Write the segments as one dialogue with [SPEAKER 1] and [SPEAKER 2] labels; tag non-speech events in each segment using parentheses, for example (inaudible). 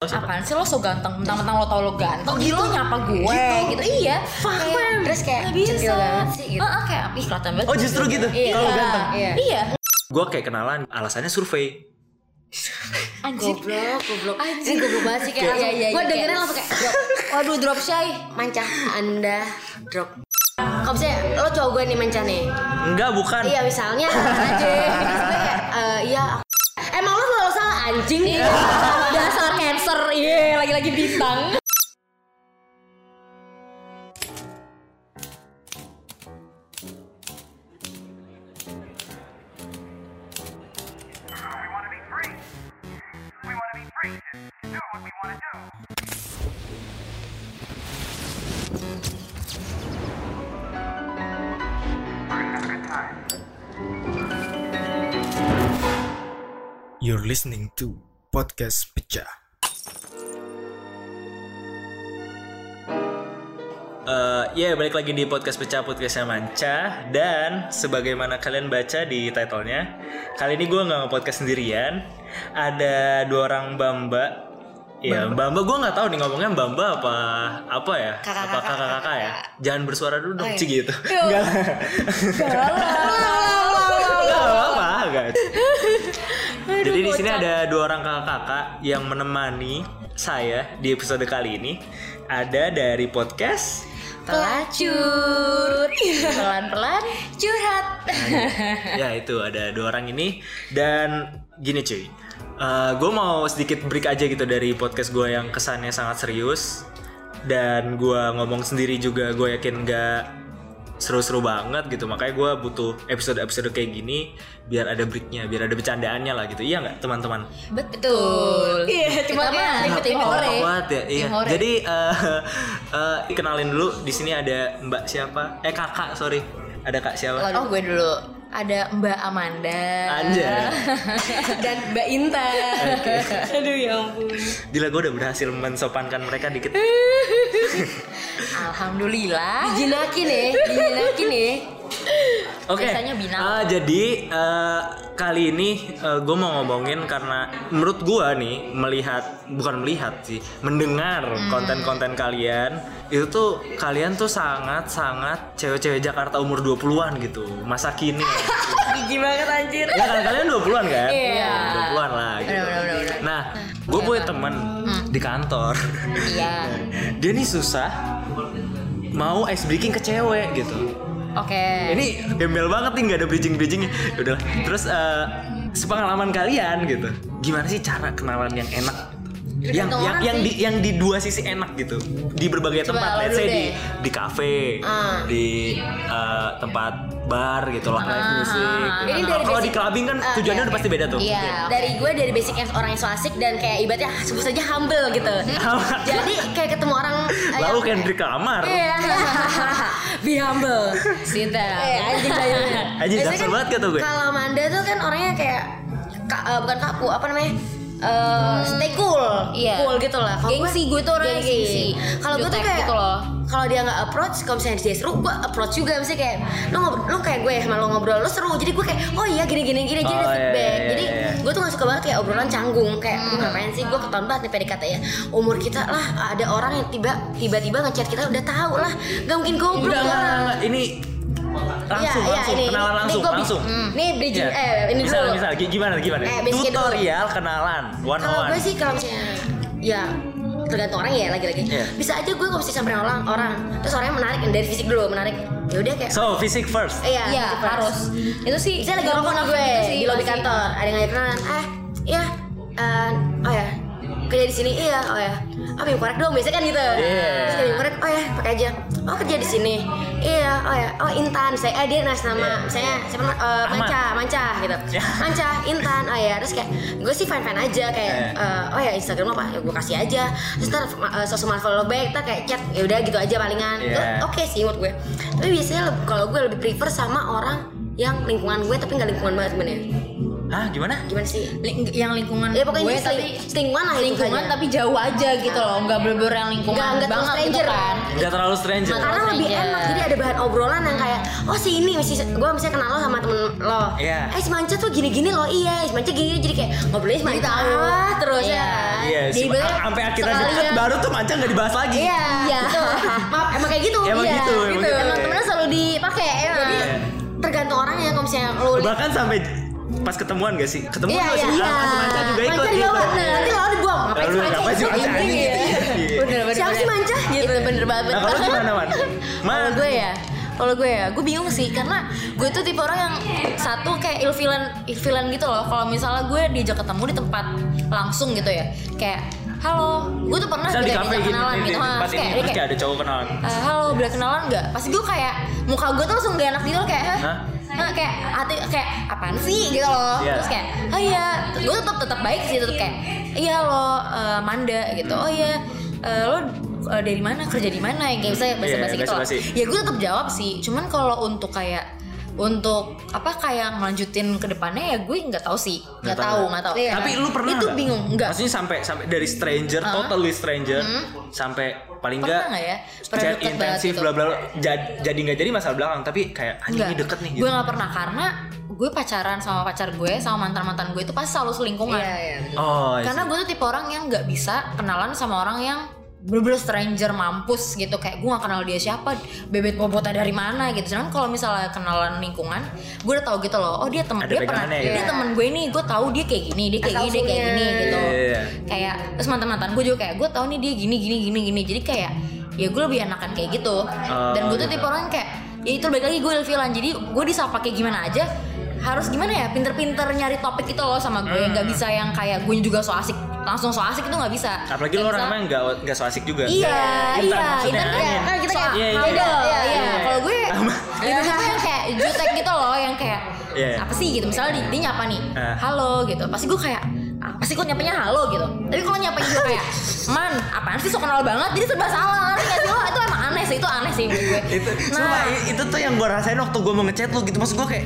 [SPEAKER 1] Lo siapa?
[SPEAKER 2] apaan sih lo so ganteng mentang-mentang lo tau lo ganteng gitu lo nyapa gue gitu, iya
[SPEAKER 1] Fuck,
[SPEAKER 2] Kayak-
[SPEAKER 1] man.
[SPEAKER 2] terus kayak
[SPEAKER 3] Nggak bisa.
[SPEAKER 2] centil banget sih gitu
[SPEAKER 3] Ah, ah, kayak,
[SPEAKER 2] ih kelihatan banget
[SPEAKER 1] Oh, justru gitu?
[SPEAKER 2] iya.
[SPEAKER 1] Kalau ganteng?
[SPEAKER 2] iya iya
[SPEAKER 1] Gue kayak kenalan, alasannya survei.
[SPEAKER 3] anjir
[SPEAKER 2] goblok goblok
[SPEAKER 3] Anjir.
[SPEAKER 2] anjir goblok banget sih kayak
[SPEAKER 3] Iya,
[SPEAKER 2] langsung-
[SPEAKER 3] iya, iya,
[SPEAKER 2] gue
[SPEAKER 3] kayak-
[SPEAKER 2] dengerin langsung kayak drop. waduh drop shy
[SPEAKER 3] mancah anda drop kalau misalnya lo cowok gue nih mancah nih
[SPEAKER 1] Enggak, bukan.
[SPEAKER 3] iya
[SPEAKER 2] (laughs)
[SPEAKER 3] misalnya aja misalnya kayak eh, iya emang lo selalu salah anjing
[SPEAKER 2] (laughs) dasar cancer iya lagi-lagi bintang
[SPEAKER 4] You're listening to Podcast Pecah.
[SPEAKER 1] Eh, ya balik lagi di podcast pecah podcastnya Manca dan sebagaimana kalian baca di titlenya kali ini gue nggak nge-podcast sendirian ada dua orang bamba ya bamba gue nggak tahu nih ngomongnya bamba apa apa ya apa kakak kakak ya jangan bersuara dulu dong Ci, gitu (laughs) nggak nggak apa apa jadi di sini ada dua orang kakak kakak yang menemani saya di episode kali ini ada dari podcast
[SPEAKER 3] pelacur
[SPEAKER 2] pelan-pelan
[SPEAKER 3] curhat
[SPEAKER 1] ya itu ada dua orang ini dan gini cuy gue mau sedikit break aja gitu dari podcast gue yang kesannya sangat serius dan gue ngomong sendiri juga gue yakin gak seru-seru banget gitu makanya gue butuh episode-episode kayak gini biar ada breaknya biar ada bercandaannya lah gitu iya nggak teman-teman
[SPEAKER 2] betul iya cuma
[SPEAKER 3] Kita mah
[SPEAKER 2] kayak
[SPEAKER 3] tim
[SPEAKER 2] tim
[SPEAKER 3] horor
[SPEAKER 2] hore
[SPEAKER 1] Kuat ya iya
[SPEAKER 2] Tim hore.
[SPEAKER 1] jadi eh, (laughs) eh, kenalin dulu di sini ada mbak siapa eh kakak sorry ada kak siapa
[SPEAKER 2] oh gue dulu ada Mbak Amanda (laughs)
[SPEAKER 1] Anjay.
[SPEAKER 3] dan mbak Intan aduh ya ampun
[SPEAKER 1] Gila gue udah berhasil mensopankan mereka dikit
[SPEAKER 2] Alhamdulillah
[SPEAKER 3] dijinakin ya (laughs) dijinakin ya
[SPEAKER 1] Oke.
[SPEAKER 2] Biasanya binal.
[SPEAKER 1] Ah, jadi eh, kali ini gue mau ngomongin karena menurut gue nih melihat bukan melihat sih mendengar
[SPEAKER 2] Hmm.
[SPEAKER 1] konten-konten kalian itu tuh kalian tuh sangat sangat cewek-cewek Jakarta umur 20-an gitu masa
[SPEAKER 2] (laughs)
[SPEAKER 1] kini.
[SPEAKER 3] gigi banget anjir
[SPEAKER 1] ya kan kalian 20-an kan?
[SPEAKER 2] Iya.
[SPEAKER 1] 20-an lah gitu.
[SPEAKER 2] Bener, bener, bener.
[SPEAKER 1] Nah, gue punya temen
[SPEAKER 2] Hmm.
[SPEAKER 1] di kantor. (laughs)
[SPEAKER 2] iya
[SPEAKER 1] Dia nih susah mau ice breaking ke cewek gitu.
[SPEAKER 2] oke
[SPEAKER 1] ini gembel banget nih nggak ada bridging bridgingnya udahlah terus eh, sepengalaman kalian gitu gimana sih cara kenalan yang enak gitu? yang
[SPEAKER 2] Tergantung
[SPEAKER 1] yang
[SPEAKER 2] orang
[SPEAKER 1] yang di yang di dua sisi enak gitu di berbagai
[SPEAKER 2] Coba
[SPEAKER 1] tempat
[SPEAKER 2] lo dulu
[SPEAKER 1] let's say di
[SPEAKER 2] deh.
[SPEAKER 1] di kafe
[SPEAKER 3] Ah.
[SPEAKER 1] di eh, tempat bar gitu lah live music
[SPEAKER 3] Ah. Ini
[SPEAKER 1] Kalau-
[SPEAKER 3] dari
[SPEAKER 1] kalau di
[SPEAKER 3] basic-
[SPEAKER 1] clubbing kan
[SPEAKER 3] Ah,
[SPEAKER 1] tujuannya
[SPEAKER 3] iya,
[SPEAKER 1] udah pasti beda tuh
[SPEAKER 2] Iya. oke.
[SPEAKER 3] dari gue dari basicnya orang yang so asik dan kayak ibaratnya sebut saja humble
[SPEAKER 2] (laughs)
[SPEAKER 3] gitu jadi kayak ketemu orang eh,
[SPEAKER 1] lalu
[SPEAKER 3] yang-
[SPEAKER 2] kan?
[SPEAKER 1] Kendrick Lamar
[SPEAKER 3] Iya. Be humble.
[SPEAKER 2] Sinta
[SPEAKER 3] Eh, anjing bayangin.
[SPEAKER 1] Anjing,
[SPEAKER 3] Biasanya
[SPEAKER 1] dasar
[SPEAKER 3] kan
[SPEAKER 1] banget kata gue.
[SPEAKER 3] Kalau Manda tuh kan orangnya kayak ka- eh, bukan kaku, apa namanya? Eh, stay cool,
[SPEAKER 2] Hmm. iya.
[SPEAKER 3] cool gitu lah. Kalau gue-
[SPEAKER 2] Gengsi, gue tuh orangnya gengsi.
[SPEAKER 3] Kalau gue tuh
[SPEAKER 2] Jutek
[SPEAKER 3] kayak
[SPEAKER 2] gitu loh.
[SPEAKER 3] Kalau dia nggak approach, kalau misalnya dia seru, gue approach juga. Misalnya kayak, lo ngobrol, lo kayak gue ya, sama lo ngobrol, lo seru. Jadi gue kayak, oh iya gini gini gini, jadi ada
[SPEAKER 1] Oh, iya,
[SPEAKER 3] feedback.
[SPEAKER 1] iya,
[SPEAKER 3] Jadi
[SPEAKER 1] iya.
[SPEAKER 3] gue tuh gak suka banget kayak obrolan canggung kayak
[SPEAKER 2] Hmm.
[SPEAKER 3] "Lu ngapain sih gue ketahuan banget nih PDKT ya umur kita lah ada orang yang tiba tiba-tiba ngechat kita udah tahu lah gak mungkin goblok
[SPEAKER 1] enggak enggak,
[SPEAKER 3] orang.
[SPEAKER 1] enggak. ini langsung
[SPEAKER 3] Iya, iya,
[SPEAKER 1] langsung
[SPEAKER 3] ini-
[SPEAKER 1] kenalan
[SPEAKER 3] ini
[SPEAKER 1] langsung
[SPEAKER 3] gua bi-
[SPEAKER 1] langsung
[SPEAKER 3] Hmm. Nih bridging
[SPEAKER 1] Iya.
[SPEAKER 3] eh ini
[SPEAKER 1] misal,
[SPEAKER 3] dulu.
[SPEAKER 1] misal gi- gimana gimana
[SPEAKER 3] Eh, basicnya dulu.
[SPEAKER 1] tutorial kenalan one on
[SPEAKER 3] Kalau
[SPEAKER 1] one
[SPEAKER 3] gue sih kalau misalnya ya tergantung orang ya lagi-lagi.
[SPEAKER 1] Iya.
[SPEAKER 3] Bisa aja gue kalau misalnya samperin orang orang terus orangnya menarik dari fisik dulu menarik. Ya udah kayak
[SPEAKER 1] So, fisik first.
[SPEAKER 3] iya,
[SPEAKER 2] Iya
[SPEAKER 3] gitu first.
[SPEAKER 2] harus Itu sih
[SPEAKER 3] Misalnya gitu lagi ngerokok sama gue
[SPEAKER 2] Itu sih
[SPEAKER 3] di lobi
[SPEAKER 2] masih-
[SPEAKER 3] kantor, ada yang ngajak kenalan. Eh, iya. eh, oh ya kerja di sini iya oh ya oh minum korek dong biasanya kan gitu
[SPEAKER 2] Iya.
[SPEAKER 3] terus kayak minum korek oh ya pakai aja oh kerja di sini iya oh ya oh intan saya eh dia ngasih nama
[SPEAKER 2] Iya.
[SPEAKER 3] misalnya siapa nama? Eh,
[SPEAKER 1] Ahmad.
[SPEAKER 3] manca manca gitu
[SPEAKER 1] Ya.
[SPEAKER 3] manca intan oh ya terus kayak gue sih fan fan aja kayak
[SPEAKER 2] Iya.
[SPEAKER 1] Eh.
[SPEAKER 3] eh, oh ya instagram apa ya gue kasih aja terus ntar eh, sosmed follow back ntar kayak chat ya udah gitu aja palingan Itu
[SPEAKER 1] Iya.
[SPEAKER 3] oke sih menurut gue tapi biasanya leb- kalau gue lebih prefer sama orang yang lingkungan gue tapi nggak lingkungan banget sebenarnya
[SPEAKER 1] Hah gimana?
[SPEAKER 3] gimana sih
[SPEAKER 2] Ling- yang lingkungan
[SPEAKER 3] ya pokoknya
[SPEAKER 2] gue
[SPEAKER 3] ini
[SPEAKER 2] tapi
[SPEAKER 3] sling, slingan lah itu
[SPEAKER 2] lingkungan
[SPEAKER 3] saja.
[SPEAKER 2] tapi jauh aja gitu loh nggak bener-bener yang lingkungan
[SPEAKER 3] Nggak- nggak terlalu
[SPEAKER 2] banget gitu
[SPEAKER 3] stranger.
[SPEAKER 2] kan
[SPEAKER 1] Gak terlalu stranger.
[SPEAKER 2] Mata-
[SPEAKER 3] karena
[SPEAKER 2] Terus
[SPEAKER 3] lebih
[SPEAKER 2] aja.
[SPEAKER 3] enak jadi ada bahan obrolan yang kayak oh si ini misi gue misalnya kenal lo sama temen lo
[SPEAKER 1] Iya.
[SPEAKER 3] eh si Manca tuh gini-gini lo iya si Manca gini jadi kayak ngobrolnya si Manca
[SPEAKER 2] tahu.
[SPEAKER 3] ah, terus
[SPEAKER 2] Iya.
[SPEAKER 3] ya
[SPEAKER 1] Iya sih.
[SPEAKER 2] Jadi bener-
[SPEAKER 1] Sampai akhirnya
[SPEAKER 3] sekalian.
[SPEAKER 1] deket baru tuh manca nggak dibahas lagi.
[SPEAKER 3] Iya.
[SPEAKER 2] Iya.
[SPEAKER 3] betul. Maaf, emang kayak gitu.
[SPEAKER 1] Emang
[SPEAKER 3] Iya,
[SPEAKER 1] gitu, emang gitu.
[SPEAKER 3] Emang temennya selalu dipakai. Emang. Jadi
[SPEAKER 1] Iya.
[SPEAKER 3] tergantung orangnya kalau misalnya lu
[SPEAKER 1] Bahkan sampai pas ketemuan gak sih? Ketemu
[SPEAKER 3] Iya,
[SPEAKER 1] lo
[SPEAKER 3] iya.
[SPEAKER 1] sih, ah, si manca juga ikut. gitu.
[SPEAKER 3] Manca dibawa. Nanti lawan dibuang.
[SPEAKER 2] Iya,
[SPEAKER 3] Ngapain
[SPEAKER 1] Lalu
[SPEAKER 3] sih Manca?
[SPEAKER 1] ngapain sih
[SPEAKER 3] ikut?
[SPEAKER 1] manca anjing
[SPEAKER 3] Iya.
[SPEAKER 1] gitu ya? Iya.
[SPEAKER 2] Bener-bener.
[SPEAKER 3] Siapa sih Manca?
[SPEAKER 2] Gitu bener banget.
[SPEAKER 1] Nah kalau lu gimana man? Man,
[SPEAKER 2] Kalau gue ya, kalau gue ya, gue bingung sih karena gue tuh tipe orang yang satu kayak ilfilan ilfilan gitu loh. Kalau misalnya gue diajak ketemu di tempat langsung gitu ya, kayak halo, gue tuh pernah
[SPEAKER 1] misal
[SPEAKER 2] juga
[SPEAKER 1] di kafe
[SPEAKER 2] diajak
[SPEAKER 1] gitu,
[SPEAKER 2] kenalan
[SPEAKER 1] di di
[SPEAKER 2] gitu, ha,
[SPEAKER 1] tempat
[SPEAKER 2] terus kayak, dia
[SPEAKER 1] ini terus
[SPEAKER 2] kayak
[SPEAKER 1] kayak ada cowok kenalan.
[SPEAKER 2] "Eh, halo boleh kenalan nggak? Pasti gue kayak muka gue tuh langsung gak enak gitu loh kayak Hah?
[SPEAKER 1] Hah?
[SPEAKER 2] Hah, kayak hati kayak apaan sih gitu loh
[SPEAKER 1] Iya.
[SPEAKER 2] terus kayak oh iya gue tetap tetap baik sih tetap kayak iya lo eh, Manda gitu oh iya eh, lo eh, dari mana kerja di mana yang kayak misalnya bahasa basi
[SPEAKER 1] Iya,
[SPEAKER 2] gitu loh
[SPEAKER 1] basa-basi.
[SPEAKER 2] ya gue tetap jawab sih cuman kalau untuk kayak untuk apa kayak ngelanjutin ke depannya ya gue nggak tahu sih nggak tahu nggak tahu
[SPEAKER 1] Tapi lu pernah
[SPEAKER 2] itu
[SPEAKER 1] nggak?
[SPEAKER 2] bingung nggak
[SPEAKER 1] Maksudnya sampai sampai dari stranger,
[SPEAKER 2] Hah? Hmm?
[SPEAKER 1] totally stranger, sampai paling
[SPEAKER 2] Pernah
[SPEAKER 1] enggak
[SPEAKER 2] nggak ya? Pernah
[SPEAKER 1] chat
[SPEAKER 2] deket banget
[SPEAKER 1] intensif
[SPEAKER 2] gitu.
[SPEAKER 1] bla bla bla, jad- jadi nggak jadi masalah belakang tapi kayak anjing ini
[SPEAKER 2] Nggak.
[SPEAKER 1] deket nih
[SPEAKER 2] Gue
[SPEAKER 1] gitu.
[SPEAKER 2] nggak pernah karena gue pacaran sama pacar gue sama mantan mantan gue itu pasti selalu selingkungan.
[SPEAKER 3] Iya, iya.
[SPEAKER 1] Oh, I see.
[SPEAKER 2] Karena gue tuh tipe orang yang nggak bisa kenalan sama orang yang bener-bener stranger mampus gitu kayak gue gak kenal dia siapa bebet bobotnya dari mana gitu cuman kalau misalnya kenalan lingkungan gue udah tahu gitu loh oh dia teman
[SPEAKER 1] Ada
[SPEAKER 2] dia pernah
[SPEAKER 1] pegangannya ya?
[SPEAKER 2] dia teman gue nih gue tahu dia kayak gini dia kayak
[SPEAKER 3] Asal
[SPEAKER 2] gini dia kayak gini
[SPEAKER 3] usulnya.
[SPEAKER 2] gitu
[SPEAKER 1] Iya, iya, iya.
[SPEAKER 2] kayak terus mantan mantan gue juga kayak gue tahu nih dia gini gini gini gini jadi kayak ya gue lebih enakan kayak gitu dan gue tuh
[SPEAKER 1] gitu.
[SPEAKER 2] tipe orang yang kayak ya itu balik lagi gue ilfilan jadi gue disapa kayak gimana aja harus gimana ya pinter-pinter nyari topik itu loh sama gue nggak
[SPEAKER 1] Hmm.
[SPEAKER 2] bisa yang kayak gue juga so asik langsung so asik itu nggak bisa Kayak
[SPEAKER 1] apalagi lo orang
[SPEAKER 2] misalnya-
[SPEAKER 1] emang nggak nggak so asik juga.
[SPEAKER 2] iya
[SPEAKER 1] Intan
[SPEAKER 2] iya
[SPEAKER 1] maksudnya,
[SPEAKER 2] Intan kan
[SPEAKER 1] Anin.
[SPEAKER 2] kan kita kayak
[SPEAKER 1] Iya, iya,
[SPEAKER 2] idol,
[SPEAKER 1] iya.
[SPEAKER 2] iya,
[SPEAKER 1] Iya.
[SPEAKER 2] kalau gue
[SPEAKER 1] Sama.
[SPEAKER 2] itu kan yang kayak jutek gitu loh yang kayak
[SPEAKER 1] Iya.
[SPEAKER 2] apa sih gitu misalnya di- dia nyapa nih
[SPEAKER 1] Ah.
[SPEAKER 2] halo gitu pasti gue kayak apa sih kok nyapanya halo gitu tapi kalau nyapanya gue kayak man apaan sih so kenal banget jadi serba salah ngerti gak sih lo itu emang aneh sih itu aneh sih menurut gue
[SPEAKER 1] itu sumpah, i- itu tuh yang gue rasain waktu gue mau ngechat lo gitu maksud gue kayak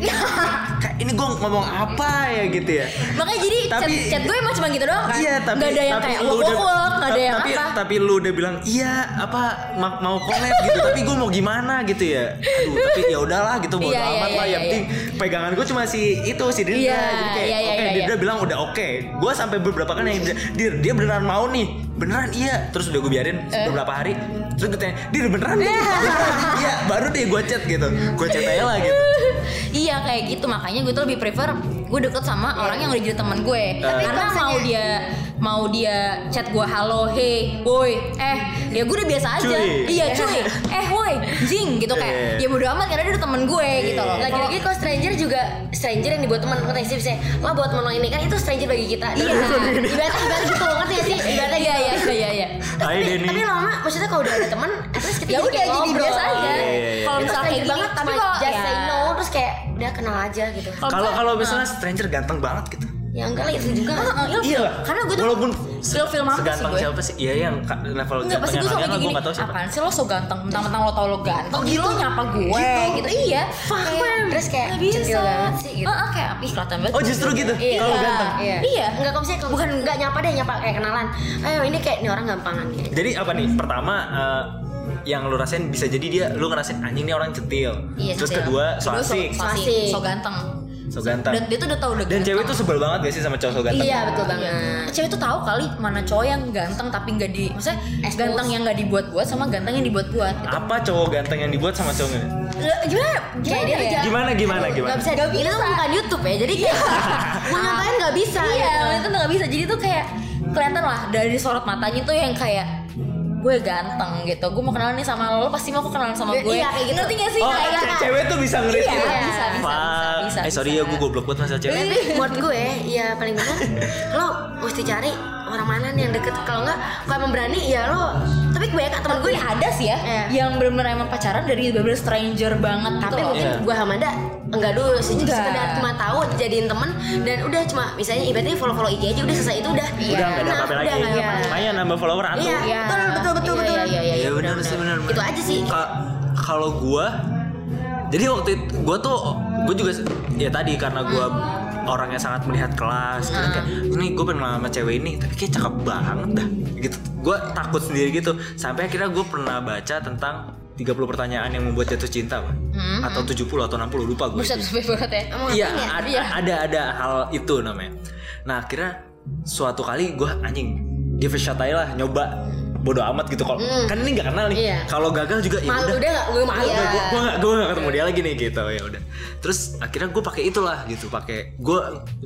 [SPEAKER 1] kayak ini gue ngomong apa ya gitu ya
[SPEAKER 2] Makanya jadi
[SPEAKER 1] Tapi-
[SPEAKER 2] chat, chat gue emang cuma gitu doang kan.
[SPEAKER 1] Iya tapi
[SPEAKER 2] gak ada yang
[SPEAKER 1] tapi
[SPEAKER 2] kayak
[SPEAKER 1] lu
[SPEAKER 2] wok
[SPEAKER 1] udah-
[SPEAKER 2] wok, gak ada
[SPEAKER 1] ta-
[SPEAKER 2] yang
[SPEAKER 1] tapi,
[SPEAKER 2] apa.
[SPEAKER 1] Tapi lu udah bilang iya apa ma- mau collab gitu, tapi gue mau gimana gitu ya. Aduh, tapi ya udahlah gitu bodo
[SPEAKER 2] Iya, iya,
[SPEAKER 1] amat lah.
[SPEAKER 2] iya,
[SPEAKER 1] Yang
[SPEAKER 2] iya.
[SPEAKER 1] penting pegangan gue cuma si itu si Dinda.
[SPEAKER 2] Iya,
[SPEAKER 1] Jadi kayak
[SPEAKER 2] iya, iya,
[SPEAKER 1] oke
[SPEAKER 2] iya,
[SPEAKER 1] Dinda
[SPEAKER 2] iya.
[SPEAKER 1] bilang udah oke. Gue sampai beberapa kan yang dia- dir dia beneran mau nih, beneran iya. Terus udah gue biarin
[SPEAKER 2] Eh?
[SPEAKER 1] beberapa hari. Terus gue tanya, dir beneran
[SPEAKER 2] (laughs)
[SPEAKER 1] nih? Beneran, Iya, baru deh gue chat gitu. Gue chat aja lah gitu.
[SPEAKER 2] (laughs) iya kayak gitu makanya gue tuh lebih prefer gue deket
[SPEAKER 1] Iya.
[SPEAKER 2] sama orang yang udah jadi teman gue karena
[SPEAKER 3] kalau
[SPEAKER 2] mau dia mau dia chat gue halo hey boy eh ya gue udah biasa aja
[SPEAKER 1] Cuy.
[SPEAKER 2] iya
[SPEAKER 1] (laughs)
[SPEAKER 2] cuy eh woi jing gitu kayak
[SPEAKER 1] Iya.
[SPEAKER 2] ya bodo amat karena dia udah temen gue gitu loh
[SPEAKER 3] Lagi-lagi kalau stranger juga stranger yang dibuat teman ngerti nggak sih misalnya lo buat teman lo ini kan itu stranger bagi kita. Iya. Ibarat ibarat gitu ngerti nggak sih? Ibaratnya
[SPEAKER 2] iya iya
[SPEAKER 3] gitu.
[SPEAKER 2] iya iya
[SPEAKER 1] Hai Denny.
[SPEAKER 3] Tapi lama maksudnya kalau udah ada teman, terus kita
[SPEAKER 2] ya
[SPEAKER 3] jadi
[SPEAKER 2] udah
[SPEAKER 3] kayak
[SPEAKER 2] jadi
[SPEAKER 3] ngobrol.
[SPEAKER 2] biasa aja
[SPEAKER 1] Iya, iya, iya.
[SPEAKER 2] kalau misalnya
[SPEAKER 3] Itu stranger
[SPEAKER 2] kayak gini
[SPEAKER 3] banget
[SPEAKER 2] tapi
[SPEAKER 3] tapi
[SPEAKER 2] kalau
[SPEAKER 3] just say
[SPEAKER 2] ya,
[SPEAKER 3] no terus kayak udah kenal aja gitu.
[SPEAKER 1] Kalau
[SPEAKER 2] misalnya-
[SPEAKER 1] kalau misalnya stranger ganteng banget gitu.
[SPEAKER 3] Ya enggak lah itu juga.
[SPEAKER 2] Ah, ilfil.
[SPEAKER 1] Iya lah.
[SPEAKER 2] Karena gue tuh
[SPEAKER 1] walaupun
[SPEAKER 2] ilfil mampus sih
[SPEAKER 1] seganteng
[SPEAKER 2] gue.
[SPEAKER 1] siapa sih? Iya yang ka- level
[SPEAKER 2] Enggak, pasti gue
[SPEAKER 1] gantengnya
[SPEAKER 2] sampai
[SPEAKER 1] Nanya lah,
[SPEAKER 2] gini.
[SPEAKER 1] gue nggak tahu siapa.
[SPEAKER 2] Apaan sih lo so ganteng? Mentang-mentang lo tau lo ganteng.
[SPEAKER 3] Oh,
[SPEAKER 2] gitu
[SPEAKER 3] gitu?
[SPEAKER 2] lo nyapa gue
[SPEAKER 3] Gitu?
[SPEAKER 2] gitu. Iya.
[SPEAKER 3] Fuck,
[SPEAKER 2] Kayak-
[SPEAKER 3] man. Terus kayak
[SPEAKER 2] nggak bisa.
[SPEAKER 3] centil banget sih, gitu.
[SPEAKER 2] Ah, ah, kayak ih kelihatan banget.
[SPEAKER 1] Oh justru gitu.
[SPEAKER 3] Iya.
[SPEAKER 1] Kalau ganteng.
[SPEAKER 3] Iya.
[SPEAKER 2] Iya.
[SPEAKER 3] Enggak kalau misalnya bukan enggak nyapa deh nyapa kayak kenalan. Ayo ini kayak ini orang gampangan kayak.
[SPEAKER 1] Jadi apa nih? Pertama eh, yang lu rasain bisa jadi dia lu ngerasain anjing nih orang cetil.
[SPEAKER 3] Iya,
[SPEAKER 1] Terus
[SPEAKER 3] cetil.
[SPEAKER 1] kedua so
[SPEAKER 2] Kedua,
[SPEAKER 1] asik,
[SPEAKER 2] So, so asik.
[SPEAKER 3] Asik.
[SPEAKER 2] So ganteng.
[SPEAKER 1] so ganteng.
[SPEAKER 2] Dan dia tuh udah tau udah
[SPEAKER 1] Dan cewek tuh sebel banget gak sih sama cowok so ganteng?
[SPEAKER 3] Iya betul banget.
[SPEAKER 2] Cewek tuh tahu kali mana cowok yang ganteng tapi nggak di, maksudnya
[SPEAKER 3] Expose.
[SPEAKER 2] ganteng yang nggak dibuat-buat sama ganteng yang dibuat-buat.
[SPEAKER 1] Apa cowok ganteng yang dibuat sama cowok ganteng?
[SPEAKER 2] Eh, Gimana? Gimana?
[SPEAKER 3] dia
[SPEAKER 2] ya?
[SPEAKER 3] aja.
[SPEAKER 1] Gimana gimana gimana?
[SPEAKER 3] Gak bisa dipilih itu bukan YouTube ya, jadi kayak mau ngapain nggak bisa.
[SPEAKER 2] iya
[SPEAKER 3] gitu.
[SPEAKER 2] itu nggak bisa jadi tuh kayak kelihatan lah dari sorot matanya tuh yang kayak gue ganteng gitu gue mau kenalan nih sama lo lo pasti mau aku kenalan sama
[SPEAKER 3] Iya,
[SPEAKER 2] gue
[SPEAKER 3] iya, kayak gitu.
[SPEAKER 2] ngerti gak sih
[SPEAKER 1] Oh,
[SPEAKER 2] Kayak-
[SPEAKER 1] ce- cewek tuh bisa ngerit
[SPEAKER 2] Iya,
[SPEAKER 1] gitu.
[SPEAKER 2] bisa, bisa, bisa,
[SPEAKER 1] Fuck.
[SPEAKER 2] bisa,
[SPEAKER 1] Eh sorry
[SPEAKER 2] bisa. Iya.
[SPEAKER 1] ya gue goblok banget sama cewek.
[SPEAKER 3] Tapi buat gue ya paling benar lo mesti cari orang mana nih yang deket kalau nggak kalau emang berani ya lo tapi kebanyakan temen gue
[SPEAKER 2] gue ada sih ya
[SPEAKER 3] Iya.
[SPEAKER 2] yang benar-benar emang pacaran dari bener-bener stranger banget
[SPEAKER 3] tapi
[SPEAKER 2] gitu loh.
[SPEAKER 3] mungkin
[SPEAKER 1] Iya.
[SPEAKER 3] gue sama Mada enggak dulu sih
[SPEAKER 2] Enggak.
[SPEAKER 3] sekedar cuma tahu jadiin temen dan udah cuma misalnya ibaratnya follow follow IG aja udah selesai itu udah
[SPEAKER 1] Udah nggak ada
[SPEAKER 3] Nah,
[SPEAKER 1] apa-apa
[SPEAKER 3] udah
[SPEAKER 1] lagi.
[SPEAKER 3] nggak ada apa-apa.
[SPEAKER 1] Lumayan nambah follower atuh.
[SPEAKER 3] iya
[SPEAKER 2] Iya.
[SPEAKER 3] betul betul betul
[SPEAKER 2] Iya,
[SPEAKER 3] betul
[SPEAKER 2] iya, iya,
[SPEAKER 1] Iya
[SPEAKER 2] iya,
[SPEAKER 1] benar sih benar.
[SPEAKER 3] ya, itu aja sih
[SPEAKER 1] Ka- kalau gua jadi waktu itu gua tuh gua juga ya tadi karena gua
[SPEAKER 3] Hmm.
[SPEAKER 1] orang yang sangat melihat kelas Terus kayak ini gue pengen lama sama cewek ini tapi kayak cakep banget dah gitu gue takut sendiri gitu sampai akhirnya gue pernah baca tentang 30 pertanyaan yang membuat jatuh cinta Pak.
[SPEAKER 3] Hmm.
[SPEAKER 1] atau 70 atau 60 lupa gue
[SPEAKER 2] Buset sampai banget ya.
[SPEAKER 1] Iya, ad- ada ada hal itu namanya. Nah, akhirnya suatu kali gue anjing give a shot aja lah nyoba bodo amat gitu kalau kan ini nggak kenal nih.
[SPEAKER 3] Iya.
[SPEAKER 1] Kalau gagal juga ya
[SPEAKER 3] malu
[SPEAKER 1] udah.
[SPEAKER 3] udah nggak gue malu
[SPEAKER 1] Gue gue gak, gue gak ketemu dia lagi nih gitu ya udah. Terus akhirnya gue pakai itulah gitu, pakai gue